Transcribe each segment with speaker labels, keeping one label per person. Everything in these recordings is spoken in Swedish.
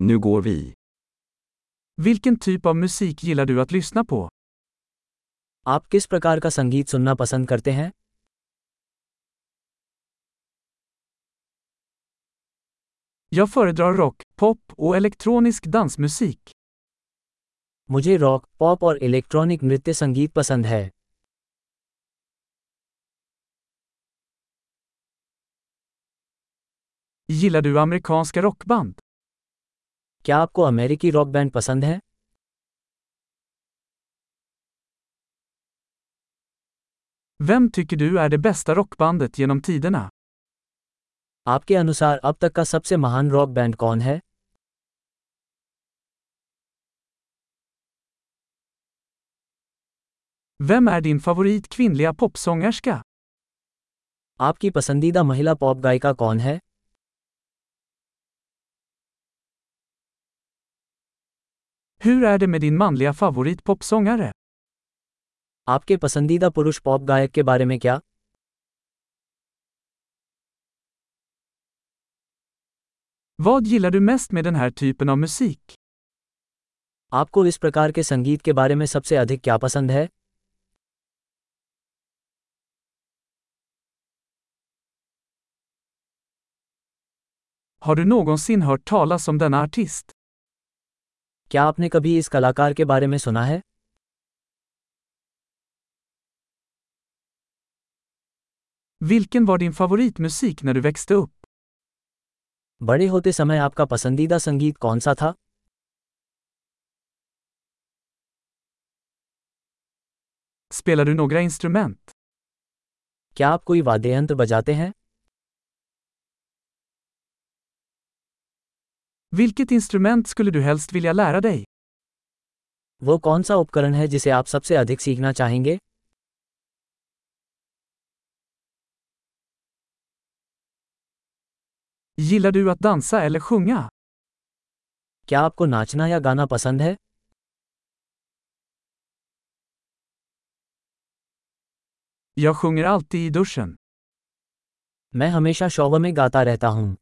Speaker 1: Nu går vi.
Speaker 2: Vilken typ av musik gillar du att lyssna på?
Speaker 3: आप किस प्रकार का संगीत सुनना पसंद करते हैं
Speaker 2: Jag föredrar rock, pop och elektronisk dansmusik.
Speaker 3: मुझे रॉक पॉप और इलेक्ट्रॉनिक नृत्य संगीत पसंद है
Speaker 2: Gillar du amerikanska rockband?
Speaker 3: क्या आपको अमेरिकी रॉक बैंड पसंद है
Speaker 2: Vem tycker du är det bästa rockbandet genom tiderna?
Speaker 3: आपके अनुसार अब तक का सबसे महान रॉक बैंड कौन है
Speaker 2: Vem är din favorit kvinnliga popsångerska?
Speaker 3: आपकी पसंदीदा महिला पॉप गायिका कौन है
Speaker 2: Hur är det med din manliga favorit popsångare?
Speaker 3: आपके पसंदीदा पुरुष पॉप गायक के बारे में क्या
Speaker 2: Vad gillar du mest med den här typen av musik?
Speaker 3: आपको इस प्रकार के संगीत के बारे में सबसे अधिक क्या पसंद है
Speaker 2: Har du någonsin hört talas om denna artist?
Speaker 3: क्या आपने कभी इस कलाकार के बारे में सुना है
Speaker 2: Vilken var din favoritmusik när du växte upp?
Speaker 3: बड़े होते समय आपका पसंदीदा संगीत कौन सा था
Speaker 2: Spelar du några instrument?
Speaker 3: क्या आप कोई वाद्य यंत्र बजाते हैं
Speaker 2: Vilket instrument skulle du helst vilja lära dig?
Speaker 3: वो कौन सा उपकरण है जिसे आप सबसे अधिक सीखना चाहेंगे
Speaker 2: Gillar du att dansa eller sjunga?
Speaker 3: क्या आपको नाचना या गाना पसंद है
Speaker 2: Jag sjunger alltid i duschen.
Speaker 3: मैं हमेशा शोव में गाता रहता हूँ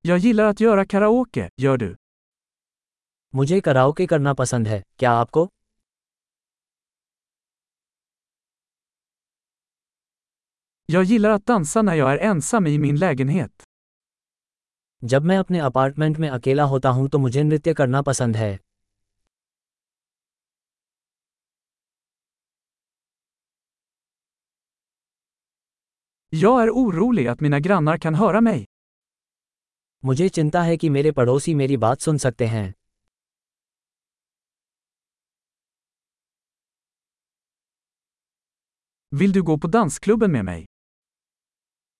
Speaker 2: Jag gillar att göra karaoke, gör du?
Speaker 3: मुझे कराओके करना पसंद है क्या आपको
Speaker 2: Jag gillar att dansa när jag är ensam i min lägenhet.
Speaker 3: जब मैं अपने अपार्टमेंट में अकेला होता हूँ तो मुझे नृत्य करना पसंद है
Speaker 2: Jag är orolig att mina grannar kan höra mig.
Speaker 3: मुझे चिंता है कि मेरे पड़ोसी मेरी बात सुन सकते हैं
Speaker 2: Vill du gå på dansklubben med mig?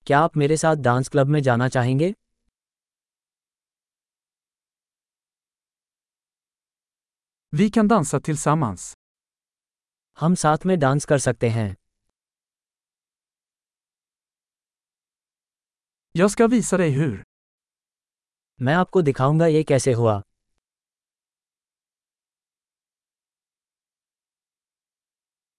Speaker 3: क्या आप मेरे साथ डांस क्लब में जाना चाहेंगे
Speaker 2: Vi kan dansa tillsammans.
Speaker 3: हम साथ में डांस कर सकते हैं
Speaker 2: Jag ska visa dig hur.
Speaker 3: मैं आपको दिखाऊंगा ये कैसे हुआ